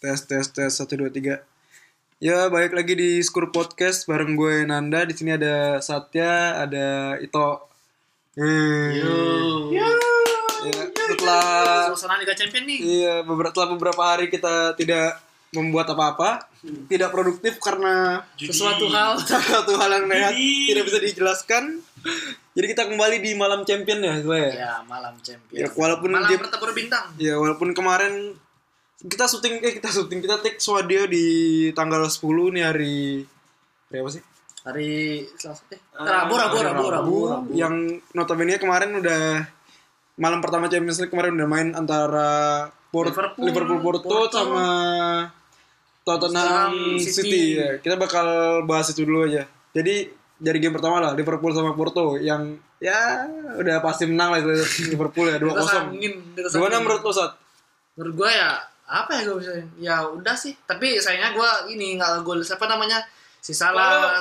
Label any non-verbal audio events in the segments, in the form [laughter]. tes tes tes satu dua tiga ya balik lagi di Skur Podcast bareng gue Nanda di sini ada Satya ada Ito Yeay. Ya, setelah Suasana Liga Champion nih. Iya, beberapa setelah beberapa hari kita tidak membuat apa-apa, tidak produktif karena Sesuatu hal. [laughs] satu hal yang nehat Judi. tidak bisa dijelaskan. Jadi kita kembali di malam champion ya, Zoe? Ya, malam Ya, champion. walaupun malam dia- bertempur bintang. ya walaupun kemarin kita syuting eh kita syuting kita take swadio di tanggal 10 nih hari hari apa sih? Hari Selasa eh Rabu, Rabu, Hari Rabu, Rabu, Rabu. yang notabene kemarin udah malam pertama Champions League kemarin udah main antara Port- Liverpool, Liverpool, Porto, Porto. sama Tottenham Tottenham City. City. Ya, Kita bakal bahas itu dulu aja. Jadi dari game pertama lah Liverpool sama Porto yang ya udah pasti menang lah itu Liverpool ya [laughs] Kita 2-0. sangin, kita sangin. Gimana menurut lo Sat? Menurut gue ya apa ya gue bisa ya udah sih tapi sayangnya gue ini nggak gol siapa namanya si salah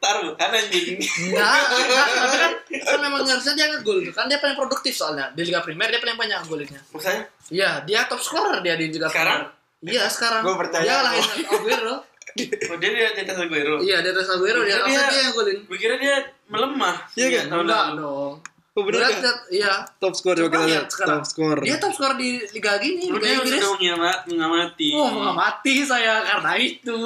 taruhan anjing enggak enggak tapi kan kan memang harusnya dia ngegol kan dia paling produktif soalnya di Liga Primer dia paling banyak golnya Maksudnya iya dia top scorer dia di Liga Sekarang? Primer. iya sekarang Gua percaya. dia ngalahin Aguero Oh dia dia di atas Aguero iya dia atas Aguero dia Dia- harusnya dia yang golin Gue kira dia melemah Iya, kan? tahun enggak lalu. dong Oh, bener Dia kan? lihat- iya Top score coba Coba kita lihat lihat. sekarang. Top score. Iya, dia top skor di liga gini Lu liga dia Inggris sudah mengamat- mengamati Oh, mengamati saya karena [laughs] itu.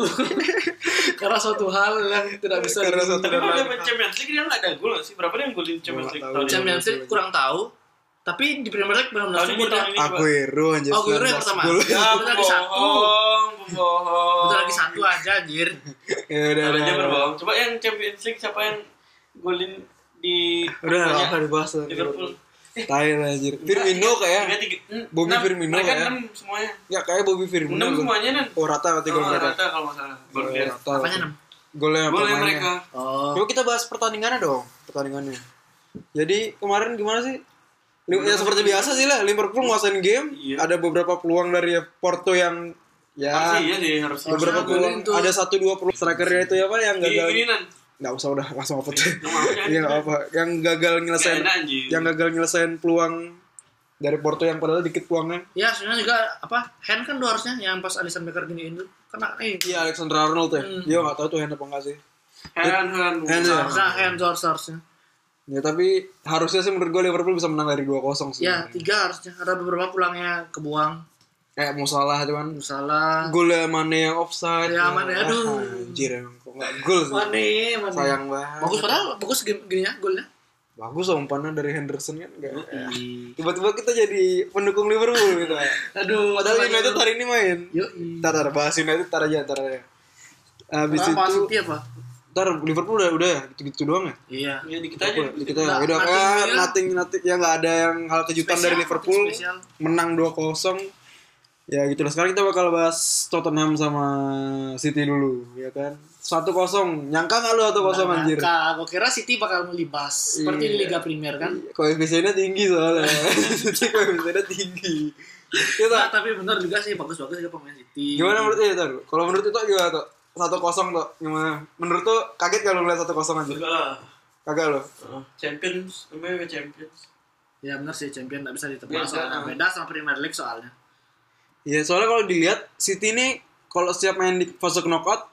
karena suatu hal yang tidak bisa Karena suatu Tapi hal. di- kalau dia main Champions League dia nggak ada gol nggak sih Berapa dia yang golin Champions Gua League nggak tahun tahu. ini? Champions League kurang tahu. Tapi di Premier League benar-benar Tahun ini subur tahun dia. ini coba. Aguero anjir. Aguero yang 19 pertama. gol. Ya Bentar lagi satu. bohong Bohong Udah lagi satu aja anjir. [laughs] Ya udah Ada udah. aja berbohong Coba yang Champions League siapa yang golin di Udah lah, apanya? apa dibahas lah. Liverpool iya. Tai lah, anjir. Firmino Tiga, kayak tiga, en- ya. Bobby enam. Firmino Mereka ya. enam semuanya ya kayak Bobby Firmino. Enam gua. semuanya kan Oh rata berarti gol Oh, mereka. rata kalau nggak salah Gol Gol dia. rata. Apanya enam? Golnya Golnya pemainnya. mereka Oh. Coba kita bahas pertandingannya dong, pertandingannya. Jadi kemarin gimana sih? Li- Ya seperti biasa sih lah, Liverpool nguasain game. Iya. Ada beberapa peluang dari Porto yang ya Harusnya iya sih harusnya beberapa Harusnya peluang golin tuh. ada satu dua peluang strikernya itu apa yang Gini- gagal gini nan nggak usah udah langsung apa Nggak mau, kan? Iya nggak apa yang gagal nyelesain Nggak enak, anjir. yang gagal nyelesain peluang dari Porto yang padahal dikit peluangnya Ya sebenarnya juga apa? Hand kan dua harusnya yang pas Alisson Becker giniin tuh kena eh. Iya Alexander Arnold ya. Hmm. Dia nggak tahu tuh hand apa enggak sih. Heran heran Heran, ya? Harusnya hand tuh harus- harusnya. Ya tapi harusnya sih menurut gue Liverpool bisa menang dari 2-0 sih. Ya, tiga harusnya. Ada beberapa pulangnya kebuang. Kayak mau salah cuman Salah. golnya Mane yang offside. Ya, Mane, Ah, aduh. Anjir emang kok nggak gol sih. Mane, Mane. Sayang banget. Bagus padahal bagus game gininya golnya. Bagus lah umpannya dari Henderson kan enggak. Tiba-tiba kita jadi pendukung Liverpool gitu. Aduh, Padahal kemarin- United hari ini main. Yo. Ntar, ntar bahas United ntar aja ntar aja. Habis Apa itu City apa? ntar Liverpool udah udah ya gitu-gitu doang ya. Iya. Ya dikit aja kita Nah, udah kayak nothing, nothing nothing ya nggak ada yang hal kejutan Spesial, dari Liverpool spesial. menang 2-0 ya gitu lah sekarang kita bakal bahas Tottenham sama City dulu ya kan 1-0 nyangka nggak lu 1-0 anjir Iya. Nah, gue kira City bakal melibas seperti di Liga Primer kan. koefisiennya tinggi soalnya [laughs] City koefisiennya tinggi Nah, kita tapi bener juga sih bagus-bagus juga pemain City. gimana menurut itu kalau menurut itu gimana tuh satu kosong tuh gimana menurut tuh kaget kalau ngeliat satu kosong anjir Enggak lah. kagak lo Heeh. Champions, namanya Champions. Ya bener sih champion nggak bisa ditebak Beda. kan? soalnya beda sama Premier League soalnya. Iya, soalnya kalau dilihat City ini kalau setiap main di fase knockout,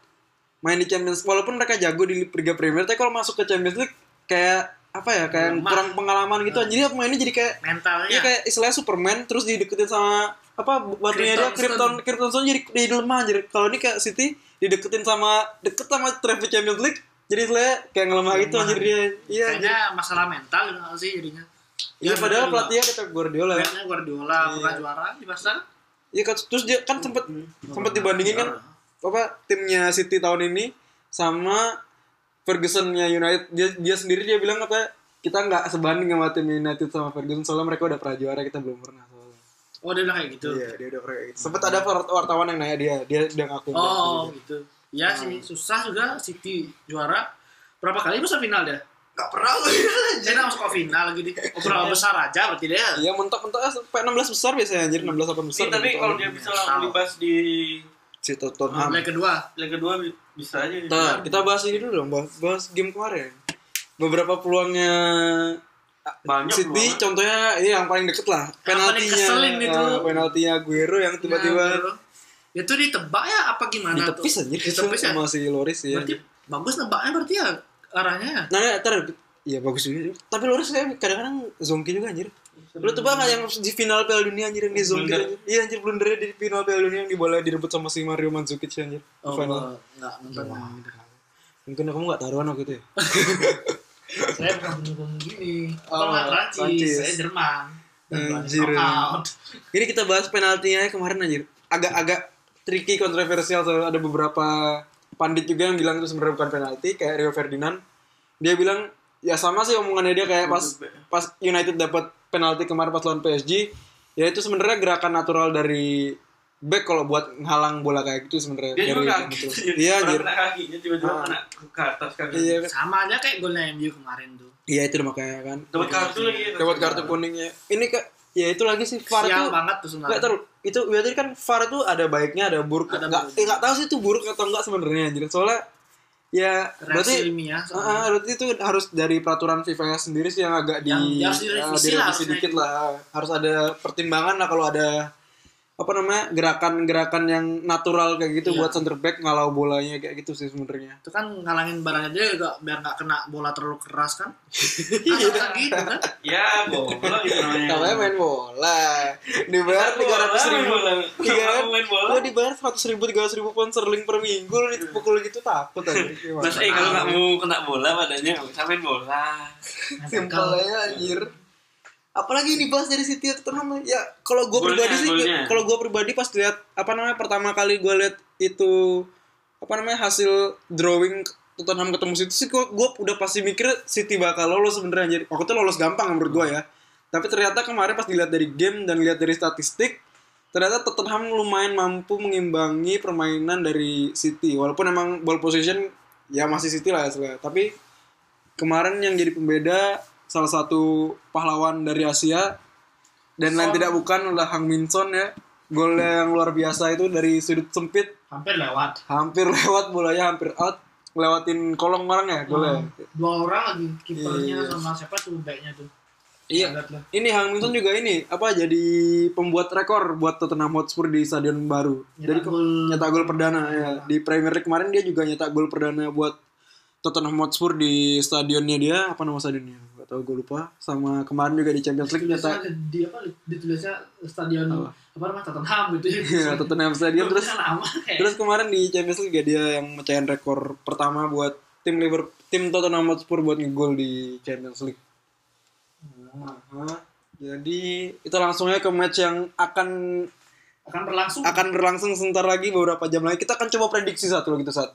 main di Champions walaupun mereka jago di Liga Premier, tapi kalau masuk ke Champions League kayak apa ya, kayak Lemah. Iya. kurang pengalaman gitu. Jadi pemainnya jadi kayak Mentalnya. ya kayak istilahnya Superman terus dideketin sama apa batunya dia Krypton Krypton. Krypton Stone jadi jadi lemah jadi kalau ini kayak City dideketin sama deket sama traffic Champions League jadi istilahnya kayak ngelemah gitu anjir dia iya kayaknya masalah mental gitu nggak sih jadinya. iya padahal bener. pelatihnya kata Guardiola ya Kayaknya Guardiola pernah juara di pasar. Iya kan terus dia kan sempet sempet dibandingin kan apa timnya City tahun ini sama Fergusonnya United dia dia sendiri dia bilang apa kita nggak sebanding sama tim United sama Ferguson soalnya mereka udah pernah juara kita belum pernah soalnya Oh, dia bilang kayak gitu. iya dia udah pernah gitu. sempet ada war- wartawan yang nanya dia dia udah ngaku iya. Oh, gitu. Ya Nah. sih susah juga City juara. Berapa kali masuk final dia? Enggak pernah lu. [laughs] Dia nggak masuk ke final lagi di Berapa besar aja berarti dia. iya mentok-mentok ah, sampai 16 besar biasanya anjir 16 18 besar gitu. Tapi kalau dia bisa melibas di si Tottenham Leg kedua. leg kedua bi- bisa aja. Bentar, kita bahas ini dulu dong bahas, bahas game kemarin beberapa peluangnya ah, Banyak City peluangnya. contohnya ini iya, yang paling deket lah Yang paling penaltinya keselin itu. penaltinya Aguero yang tiba-tiba Nah, bro. itu ditebak ya apa gimana ditepis tuh? aja Ditepis ya? sama si Loris ya Berarti bagus nebaknya berarti ya arahnya ya. nah ya, ntar Iya bagus juga. Tapi Loris kayak kadang-kadang zongki juga anjir. Lu tuh banget yang di final Piala Dunia anjir yang di zongki. Blunder. anjir. Iya anjir blundernya di final Piala Dunia yang di bola direbut sama si Mario Mandzukic anjir. Oh, final. Iya. enggak nonton. Mungkin kamu gak taruhan waktu itu ya. Saya bukan pendukung gini. Oh, Iya. Kalau nggak Prancis, Prancis. saya Jerman. Dan Anjir. knockout. Jadi kita bahas penaltinya kemarin anjir. Agak-agak tricky kontroversial tuh. ada beberapa pandit juga yang bilang itu sebenarnya bukan penalti kayak Rio Ferdinand. Dia bilang ya sama sih omongannya dia kayak pas pas United dapat penalti kemarin pas lawan PSG, ya itu sebenarnya gerakan natural dari back kalau buat menghalang bola kayak gitu sebenarnya. [laughs] Dia Dari- juga kaget. gitu. anjir. Iya Orang anjir. Kena kakinya tiba-tiba Ah. kena ke atas kaki. Iya kan. Sama aja kayak golnya MU kemarin tuh. Iya itu makanya kan. Dapat kartu lagi. ya. Dapat kartu kuningnya. Ini kak ya itu lagi sih VAR Sial tuh banget tuh Enggak sebenarnya. tahu itu berarti kan VAR tuh ada baiknya ada buruk. Nah. Ada Enggak buruk. enggak tahu sih itu buruk atau enggak sebenarnya anjir. Soalnya ya berarti Reaksi ilmiah. Ah, ah, berarti itu harus dari peraturan FIFA -nya sendiri sih yang agak di Yang- yang harus direvisi ah, lah, direvisi harusnya. gitu. dikit lah. Harus ada pertimbangan lah kalau ada apa namanya gerakan-gerakan yang natural kayak gitu Iya. buat center back ngalau bolanya kayak gitu sih sebenarnya. itu kan ngalangin barang aja juga biar nggak kena bola terlalu keras [laughs] kan Asal kan gitu kan Ya, goblok itu namanya. Namanya main bola. Dibayar Bola, tiga ratus ribu. bola. Tiga Main bola. Gue dibayar seratus ribu, tiga ratus ribu pound sterling per minggu. Lu dipukul gitu takut aja. Gimana? Mas, eh kalau nggak mau kena bola badannya, nggak usah main bola. Simpel aja anjir. Apalagi ini bahas dari City atau Tottenham ya kalau gue Golnya, pribadi sih golnya. kalau gue pribadi pas lihat apa namanya pertama kali gue lihat itu apa namanya hasil drawing Tottenham ketemu City sih gue udah pasti mikir City bakal lolos sebenarnya anjir. Waktu itu lolos gampang menurut gue ya. Tapi ternyata kemarin pas dilihat dari game dan lihat dari statistik ternyata Tottenham lumayan mampu mengimbangi permainan dari City walaupun emang ball possession ya masih City lah hasilnya. Tapi kemarin yang jadi pembeda salah satu pahlawan dari Asia dan lain tidak bukan adalah Hang Min Son ya golnya yang luar biasa itu dari sudut sempit hampir lewat hampir [laughs] lewat bolanya hampir out lewatin kolong orang ya golnya dua orang lagi kipernya Iya. sama siapa tuh backnya tuh iya Lihat lah. ini Hang Min Son juga ini apa jadi pembuat rekor buat Tottenham Hotspur di stadion baru jadi Nyetak gol. nyetak gol perdana ya di Premier League kemarin dia juga nyetak gol perdana buat Tottenham Hotspur di stadionnya dia apa nama stadionnya gak tau gue lupa sama kemarin juga di Champions League Ditulisnya nyetak ada di apa ditulisnya stadion Apa? apa, namanya Tottenham gitu ya ya, Tottenham Stadium terus nama kayak terus kemarin di Champions League ya, dia yang mecahin rekor pertama buat tim Liverpool tim Tottenham Hotspur buat ngegol di Champions League Aha. jadi kita langsung aja ke match yang akan akan berlangsung akan berlangsung sebentar lagi beberapa jam lagi kita akan coba prediksi satu lagi tuh saat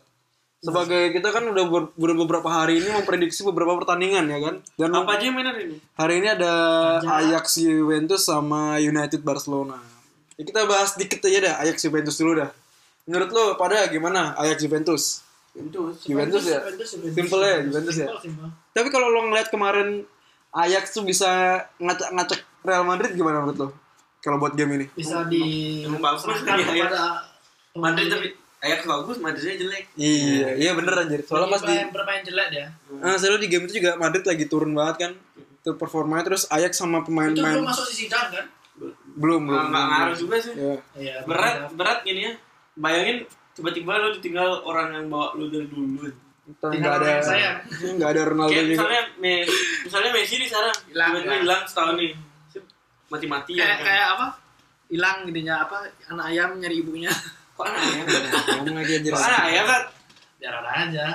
sebagai kita kan udah ber- ber- beberapa hari ini memprediksi beberapa pertandingan ya kan dan Apa aja yang main hari ini? hari ini ada Ajax Juventus sama United Barcelona Ya, kita bahas dikit aja dah Ajax Juventus dulu dah menurut lo pada gimana Ajax Juventus Juventus. Juventus ya Simple ya, Juventus ya? Simple, simple. tapi kalau lo ngeliat kemarin Ajax tuh bisa ngacak-ngacak Real Madrid gimana menurut lo kalau buat game ini bisa di Emang bagus serahkan Iya, ya, ya. kepada Madrid tapi Ajax bagus, Madridnya jelek. iya iya bener anjir soalnya pas di Bermain- bermain jelek dia Nah, selalu di game itu juga Madrid lagi turun banget kan. Itu performanya terus Ajax sama itu belum pemain-pemain masuk di sidang kan belum belum. Nggak nggak ngaruh juga sih. Ya. Iya, Berat, berat gini ya. Bayangin tiba-tiba lo ditinggal orang yang bawa lo dari dulu. Kita Tinggal nggak ada orang saya. nggak ada Ronaldo Kayak juga. misalnya, Me- misalnya Messi di sana, Hilang, tiba-tiba hilang. hilang setahun nih. Mati-matian. kayak kan. kayak apa hilang ininya apa anak ayam nyari ibunya ah. Kok anak ayam? Nah, Ngomong lagi anjir. Kok anak ayam kan? jarang aja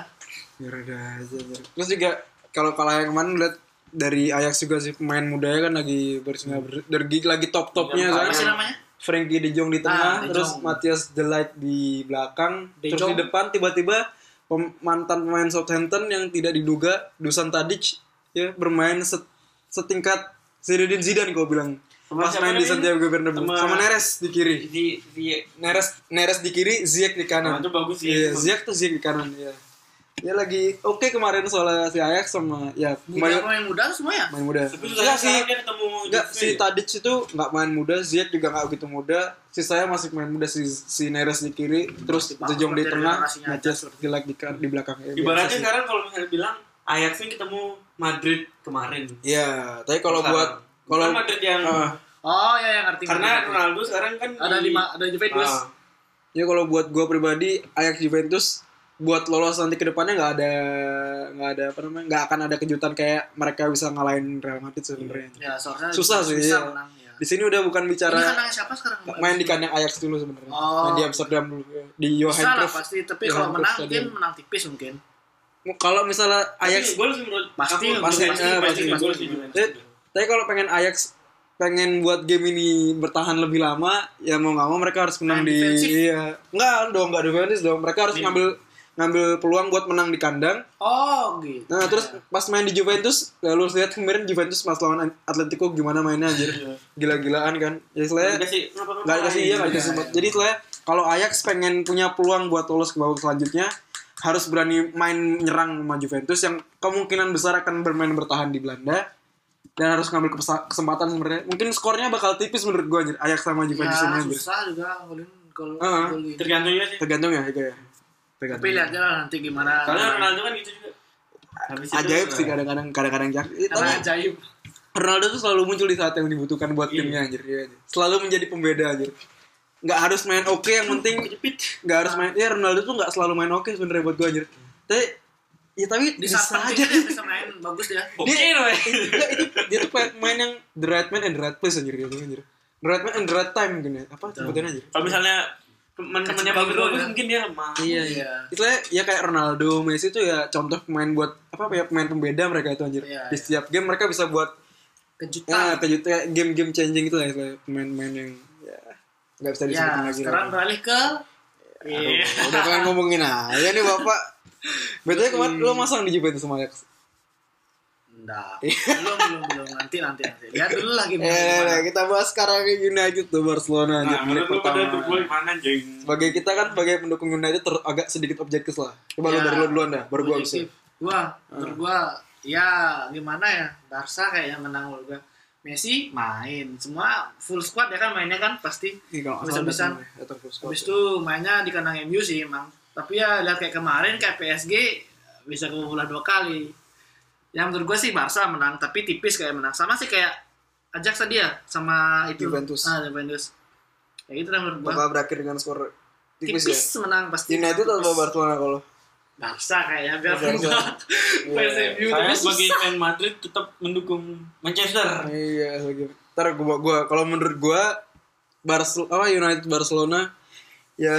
Ya udah aja, anjir. Terus juga kalau kalah yang kemarin lihat dari Ajax juga sih pemain mudanya kan lagi bersinar dari lagi top-topnya Iya, apa sih kan. namanya Frankie De Jong di Ah, tengah, De terus Jong. Matthias De Ligt di belakang, De terus Jong. di depan tiba-tiba pem- mantan pemain Southampton yang tidak diduga Dusan Tadic ya bermain set- setingkat Zinedine Zidane kau bilang. Sama Pas siapa main di namanya? Santiago Bernabeu Sama- sama Neres di kiri. Di, di, Neres Neres di kiri, Ziyech di nah, kanan. itu bagus sih. Iya, Ziyech tuh Ziyech di kanan ya. Ya lagi oke kemarin soalnya si Ajax sama ya pemain muda pemain muda semua ya main muda. Tapi Ya susahnya sih sekarang dia ketemu Enggak, Juve. si Tadic itu nggak main muda, Ziyech juga nggak begitu muda. Sisanya masih main muda si si Neres di kiri, terus banget De Jong di dari tengah, generasinya aja, Matias Gilek di, kan- di belakang. Ya, Ibaratnya biasa sih. sekarang kalau misalnya bilang Ajax ini ketemu Madrid kemarin. Iya, tapi kalau Sekarang. buat kalau Bukan Madrid yang Ah, oh ya yang ngerti karena Ronaldo sekarang kan ada di- lima ada Juventus Ah, Ya kalau buat gue pribadi Ajax Juventus buat lolos nanti ke depannya nggak ada nggak ada apa namanya nggak akan ada kejutan kayak mereka bisa ngalahin Real Madrid sebenarnya. Ya, seharusnya Susah sih, Susah iya. menang ya. Di sini udah bukan Ini bicara kandangnya siapa sekarang? main di kandang Ajax dulu sebenarnya. Oh. Main di Amsterdam dulu di Johan Susah lah Cruyff. pasti, tapi Johan kalau Cruyff menang Stadium. mungkin menang tipis mungkin. Kalau misalnya Ajax gue lebih menurut Pasti, aku, pasti, Iya, pasti, eh, pasti, pasti, pasti, pasti. Eh, tapi kalau pengen Ajax pengen buat game ini bertahan lebih lama, ya mau nggak mau mereka harus menang Main di defensif. iya. Enggak dong, enggak defensif dong. Mereka harus ngambil ngambil peluang buat menang di kandang. Oh, gitu. Nah, terus pas main di Juventus, ya lu lihat kemarin Juventus pas lawan Atletico gimana mainnya anjir. Gila-gilaan kan. Ya Nggak istilahnya dikasih, kenapa nggak dikasih iya nggak dikasih sempat. Jadi istilahnya kalau Ajax pengen punya peluang buat lolos ke babak selanjutnya harus berani main nyerang sama Juventus yang kemungkinan besar akan bermain bertahan di Belanda dan harus ngambil kepesa- kesempatan sebenarnya. Mungkin skornya bakal tipis menurut gua anjir Ajax sama Ya, Juventus ini anjir. susah juga golin gol Heeh. gol gitu. Tergantung ya sih. Tergantung ya itu ya. Tapi Tergantung. lihat aja lah nanti gimana. Karena Ronaldo kan gitu juga. Habis itu, Ajaib sih eh, kadang-kadang kadang-kadang jak- eh, Karena tapi ajaib. Ronaldo tuh selalu muncul di saat yang dibutuhkan buat Iya. timnya anjir. Iya, anjir. Selalu menjadi pembeda anjir. Nggak harus main oke yang penting Kejepit. nggak harus main ya Ronaldo tuh nggak selalu main oke sebenarnya buat gue anjir tapi ya tapi Di bisa saat aja aja dia bisa main bagus ya. dia. dia Nggak, itu dia tuh pe- main yang the right man and the right place anjir gitu anjir the right man and the right time gitu ya apa sebutannya anjir Kalau misalnya teman-temannya Kejepit dulu, bagus-bagus ya. mungkin dia mah. Iya, iya. Istilahnya ya kayak Ronaldo, Messi itu ya contoh pemain buat apa ya pemain pembeda mereka itu anjir. Di Iya, iya. setiap game mereka bisa buat ya Kejutan. kejut kayak game-game changing itu lah istilahnya pemain-pemain yang ya nggak bisa disebutin Ya, lagi. lah. sekarang beralih ke Iya. Udah pengen ngomongin aja nih bapak. Iya. Betulnya kemarin lo masang di Juventus sama Ajax. [laughs] Enggak. Iya. Belum, belum, belum. Nanti, nanti, nanti. Lihat dulu lah gimana. Eh, gimana. nah, kita bahas sekarang ke United tuh Barcelona anjir Nah, menit menurut lu pada pertama. gue gimana, jeng? Sebagai kita kan sebagai pendukung United ter- agak sedikit objektif lah. Coba lu Ya, dari lu duluan dah, baru gua Ah. objektif. bisa. Gua, menurut gua ya gimana ya? Barca kayaknya menang menurut gua. Messi main, semua full squad ya kan mainnya kan pasti. Iya, Habis-habisan. Habis itu mainnya di kandang MU sih emang. Tapi ya lihat kayak kemarin kayak PSG bisa kebobolan dua kali. Yang menurut gue sih Barca menang, tapi tipis kayak menang. Sama sih kayak Ajax tadi ya sama itu Juventus. Ah, Juventus. Ya itu lah menurut gue. Bakal berakhir dengan skor tipis, Tipis, menang pasti. ya. United atau Tipis. Barcelona kalau? Barca kayaknya biar Barca. enggak. Fans Iya. MU Saya tapi sebagai susah. fan Madrid tetap mendukung Manchester. Iya, lagi. Ntar gua gua kalau menurut gua Barcelona apa United Barcelona ya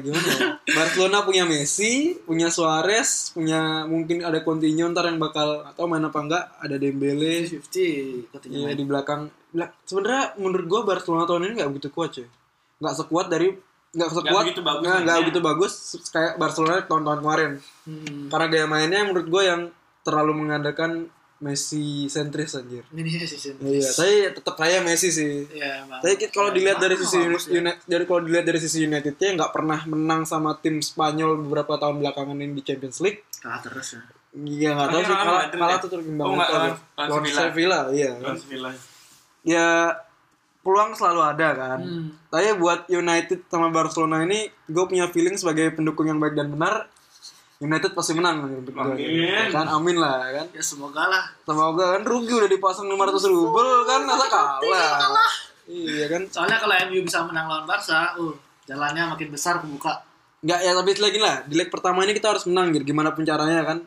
gimana ya? [laughs] Barcelona punya Messi, punya Suarez, punya mungkin ada Coutinho ntar yang bakal atau main apa enggak ada Dembele. 50 katanya Iya main. di belakang. Bela- Sebenarnya menurut gue Barcelona tahun ini nggak begitu kuat cuy. Nggak sekuat dari nggak sekuat begitu bagus nah, nggak mainnya. begitu bagus se- kayak Barcelona tahun-tahun kemarin. Hmm. Karena gaya mainnya menurut gue yang terlalu mengandalkan Messi sentris anjir. Ini season. Iya, tapi tetap saya Messi sih. Iya, emang. Tapi ki- kalau dilihat dari Emang sisi bagus ya. United, dari kalau dilihat dari sisi Unitednya nggak pernah menang sama tim Spanyol beberapa tahun belakangan ini di Champions League. kalah terus ya. Iya nggak tahu Tapi sih lawan malah, Madrid malah ya? tuh tergimbang. Oh, nggak, lawan- lawan lawan Sevilla. Sevilla, iya Alhamdulillah. ya peluang selalu ada kan. Hmm. Tapi buat United sama Barcelona ini, gue punya feeling sebagai pendukung yang baik dan benar, United pasti menang. menurut gua. Amin. Kan amin lah ya kan. Ya semoga lah. Semoga kan rugi udah dipasang 500 rubel kan, masa iya, kalah. Iya kan. Soalnya kalau MU bisa menang lawan Barca, uh, jalannya makin besar kebuka. Nggak ya tapi lagi lah, di leg pertama ini kita harus menang gitu, gimana pun caranya kan.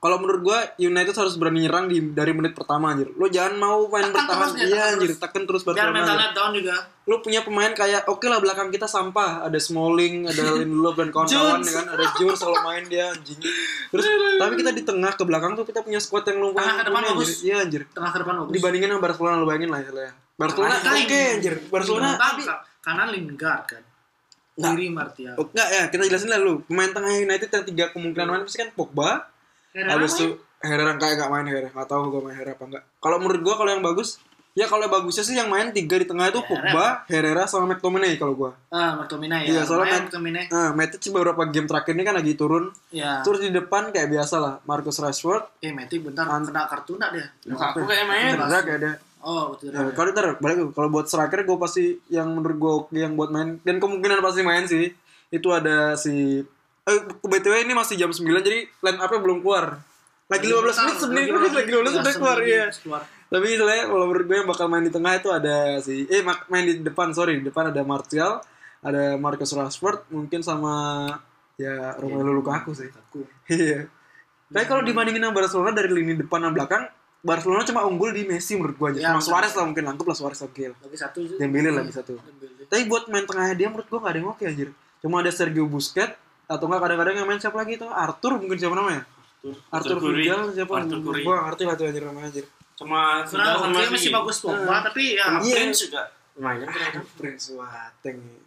Kalau menurut gua United harus berani nyerang di, dari menit pertama anjir. Lo jangan mau main Tekan bertahan. terus dia, Iya tekan anjir, tekan terus Biar Barcelona. anjir. mentalnya down juga. lu punya pemain kayak oke lah belakang kita sampah ada Smalling ada [laughs] Lindelof dan kawan-kawan ya kan ada Jur selalu main dia anjing terus tapi kita di tengah ke belakang tuh kita punya squad yang lumayan Tengah ke depan mumpuni, bagus. anjir. iya anjir Tengah ke depan bagus. dibandingin sama Barcelona lu bayangin lah istilahnya Barcelona oke Kain. anjir Barcelona Kanan, kanan, kanan Lingard kan. Nggak. Kiri Martial. Oh, enggak ya kita jelasin lah lu pemain tengah United yang tiga kemungkinan Iya. main pasti kan Pogba Herrera habis main. itu Herrera kayak gak main Herrera gak tahu gue main Herrera apa enggak kalau menurut gua kalau yang bagus ya kalau bagusnya sih yang main tiga di tengah itu Pogba Herrera sama McTominay kalau gua Ah, McTominay Iya, ya. soalnya Main main- McTominay. Nah, Matic beberapa game terakhir ini kan lagi turun. Nah. Ya. Terus di depan kayak biasa lah, Marcus Rashford. Eh, Matic bentar kena kartu enggak dia? Aku kayak main. Cedera kayak ada. Oh, betul. Nah, kalau ntar balik kalau buat striker gue pasti yang menurut gue oke yang buat main dan kemungkinan pasti main sih. Itu ada si eh BTW ini masih jam 9 jadi line up-nya belum keluar. Lagi 15 menit sebenarnya lagi Iya, 15 menit udah keluar ya. Keluar. Tapi istilahnya kalau menurut gue yang bakal main di tengah itu ada si eh mak- main di depan sorry di depan ada Martial, ada Marcus Rashford mungkin sama ya Romelu Lukaku sih Aku. iya tapi kalau dibandingin sama Barcelona dari lini depan dan belakang Barcelona cuma unggul di Messi menurut gua aja Ya, sama Suarez lah mungkin lengkap lah Suarez oke lah Lagi satu. Dembele lagi satu Dembele. tapi buat main tengahnya dia menurut gua gak ada yang oke anjir cuma ada Sergio Busquets atau enggak kadang-kadang yang main siapa lagi itu Arthur mungkin siapa namanya Arthur Vidal siapa Arthur Curry. gua gak ngerti lah tuh anjir namanya anjir Sama Vidal Sebenarnya sama Oke masih si- bagus Pogba, tapi ya Sama Iya. Ah, Prince juga. Lumayan ternyata. Prince Boateng ya.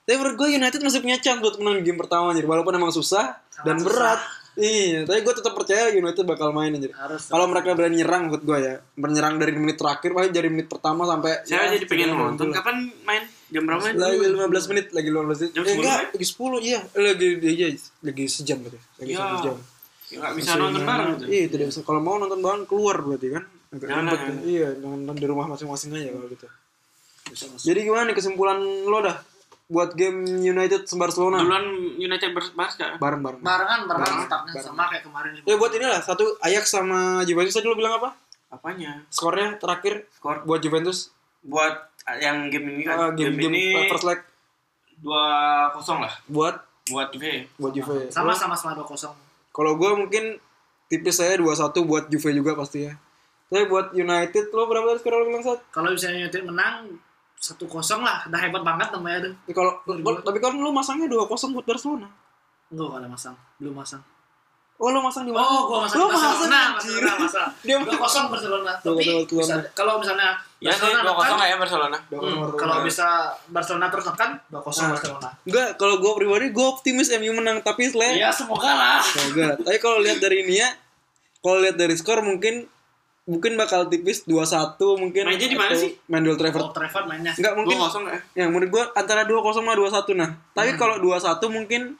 tapi menurut gue United masih punya chance buat menang game pertama anjir walaupun emang susah Sangat dan susah. berat iya tapi gue tetap percaya United bakal main anjir harus. kalau mereka berani nyerang menurut gue ya menyerang dari menit terakhir paling dari menit pertama sampai Saya ya, jadi pengen setengah nonton. bulan. Kapan main? Jam berapa main? lagi 15 menit lagi 15 menit Jam ya? eh, enggak 10, lagi 10 iya Eh, lagi iya lagi sejam berarti lagi Iya. satu jam Ya, nggak bisa nonton bareng. tuh. iya tidak bisa kalau mau nonton bareng keluar berarti kan agak Jangan, ribet jangan. kan. iya nonton di rumah masing-masing aja kalau gitu Bisa masuk. jadi gimana nih kesimpulan lo dah buat game United Barcelona Duluan United ber- Barca. bareng-bareng Barengan, barengan Iya, Barengan, startnya barengan. sama kayak kemarin. ya buat inilah satu Ajax sama Juventus tadi lo bilang apa Apanya? skornya terakhir Skor buat Juventus buat yang game ini eh, kan. game game, ini first leg 2-0 lah buat buat Juve. buat Juve Sama sama sama dua kosong. Kalau gue mungkin tipis saya 2-1 buat Juve juga pasti ya. Tapi buat United lo berapa tadi skor lo bilang Sat? Kalau misalnya United menang satu kosong lah, udah hebat banget namanya tuh. Ini Kalau gua- tapi kan lo masangnya 2-0 buat Barcelona. Enggak enggak ada masang, belum masang. Oh lo masang di mana? Oh, gua masang. Lo Gua masang Nah, anjir. Barcelona masang. [laughs] Dia Dua kosong Barcelona. Tapi 2-0 Barcelona. bisa- kalau misalnya Ya sih, Barcelona 2-0 tekan, nggak ya Barcelona? hmm, Barcelona. kalau bisa Barcelona tertekan, dua kosong Nah. Barcelona. Enggak, kalau gue pribadi gue optimis MU menang tapi selain Ya semoga lah. Semoga. tapi kalau lihat dari ini ya, kalau lihat dari skor mungkin mungkin bakal tipis 2-1 mungkin. Mainnya di mana atau sih? Main Old Trafford. Old Trafford mainnya. Enggak mungkin 2-0 nggak ya? Ya menurut gua antara 2-0 sama 2-1 nah. Tapi Hmm. kalau 2-1 mungkin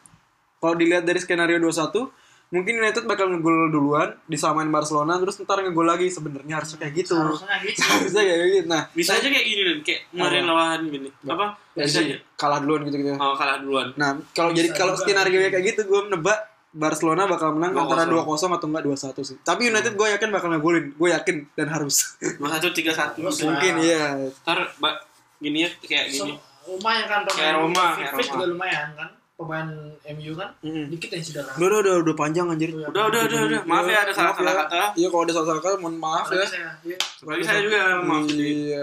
kalau dilihat dari skenario 2-1 mungkin United bakal ngegol duluan disamain Barcelona terus ntar ngegol lagi sebenarnya harusnya kayak gitu. Harusnya gitu. Bisa kayak gitu. Nah, Ah. ya Bisa aja kayak gini Lin. kayak kemarin lawan gini. Apa? Bisa aja. jadi kalah duluan gitu gitu. Oh, kalah duluan. Nah, kalau jadi kalau skenario kayak gitu gua nebak Barcelona bakal menang 2-0. antara 2-0 atau enggak 2-1 sih. Tapi United gua yakin bakal ngegolin. Gua yakin dan harus. 2-1 3-1. Terus Mungkin. Mungkin iya. Ntar Mbak, gini ya kayak So, gini. lumayan kan pemain Kayak Roma, kayak Fit Roma. juga lumayan kan pemain MU kan Mm-mm. dikit yang cedera Udah, udah, udah, udah panjang anjir. Udah, udah, udah, udah. Maaf ya ada Maaf salah-salah ya. kata. Iya, kalau ada salah-salah kata mohon maaf ya. saya ya Bagi saya juga maaf sedikit. Iya.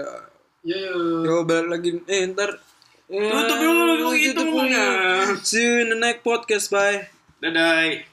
yo Yo balik lagi eh ntar Eh, Tutup dulu Ya, gitu, tutup dulu. hitungnya. See you in the next podcast bye. Dadah.